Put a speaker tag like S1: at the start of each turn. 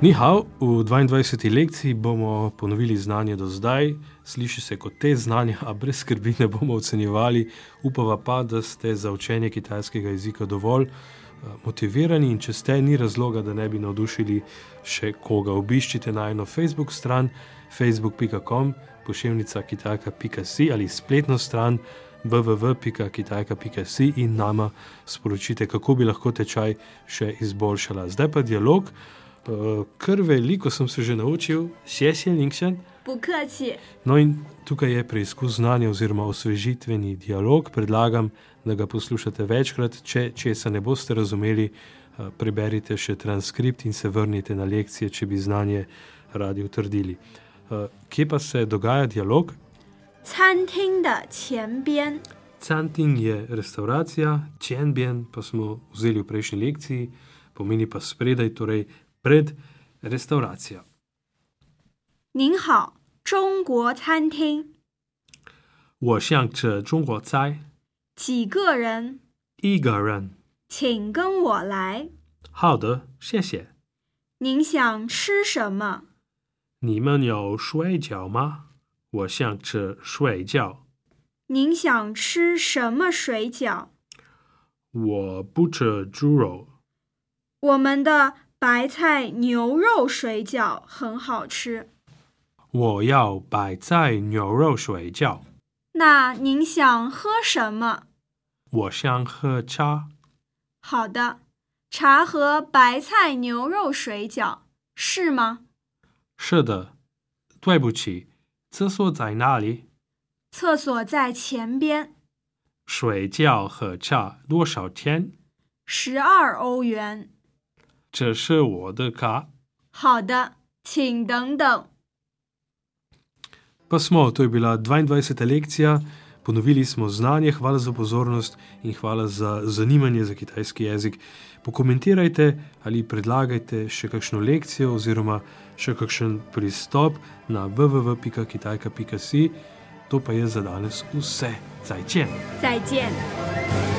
S1: Nihao, v 22. lekciji bomo ponovili znanje do zdaj, sliši se kot te znanja, a brez skrbi ne bomo ocenjevali. Upava pa, da ste za učenje kitajskega jezika dovolj eh, motivirani in če ste, ni razloga, da ne bi navdušili še koga. Obiščite najno Facebook stran facebook.com, pošiljka kitajka.si ali spletno stran www.kitajka.si in nama sporočite, kako bi lahko tečaj še izboljšala. Zdaj pa dialog. Eh, Kar veliko sem se že naučil, še je Linkšen.
S2: 不客气，
S1: No in tukaj je preizkus znanja oziroma osvežitveni dialog. Predlagam, da ga poslušate večkrat. Če česa ne boste razumeli, eh, preberite še transkript in se vrnite na lekcije, če bi znanje radi utrdili. Eh, Kje pa se dogaja dialog?
S2: 餐厅的前边
S1: Canting je restauracija, čenbien pa smo vzeli v prejšnji lekciji, pomeni pa spredaj, torej pred restauracijo.
S2: 您好，中国餐厅，
S1: 我想吃中国菜，
S2: 几个人，
S1: 一个人。
S2: 请跟我来。
S1: 好的，谢谢。
S2: 您想吃什么？
S1: 你们有水饺吗？我想吃水饺。
S2: 您想吃什么水饺？
S1: 我不吃猪肉。
S2: 我们的白菜牛肉水饺很好吃。
S1: 我要白菜牛肉水饺。
S2: 那您想喝什么？
S1: 我想喝茶。
S2: 好的，茶和白菜牛肉水饺是吗？
S1: 是的。对不起，厕所在哪里？
S2: 厕所在前边，
S1: 水饺和茶多少钱？
S2: 十二欧元。
S1: 这是我的卡。
S2: 好的，请等等。
S1: Pa smo, to je bila 22. lekcija, ponovili smo znanje, hvala za pozornost in hvala za zanimanje za kitajski jezik. Pokomentirajte ali predlagajte še kakšno lekcijo oziroma še kakšen pristop na www.kitajka.si. To pa je za danes vse. Zajčen!
S2: 再见。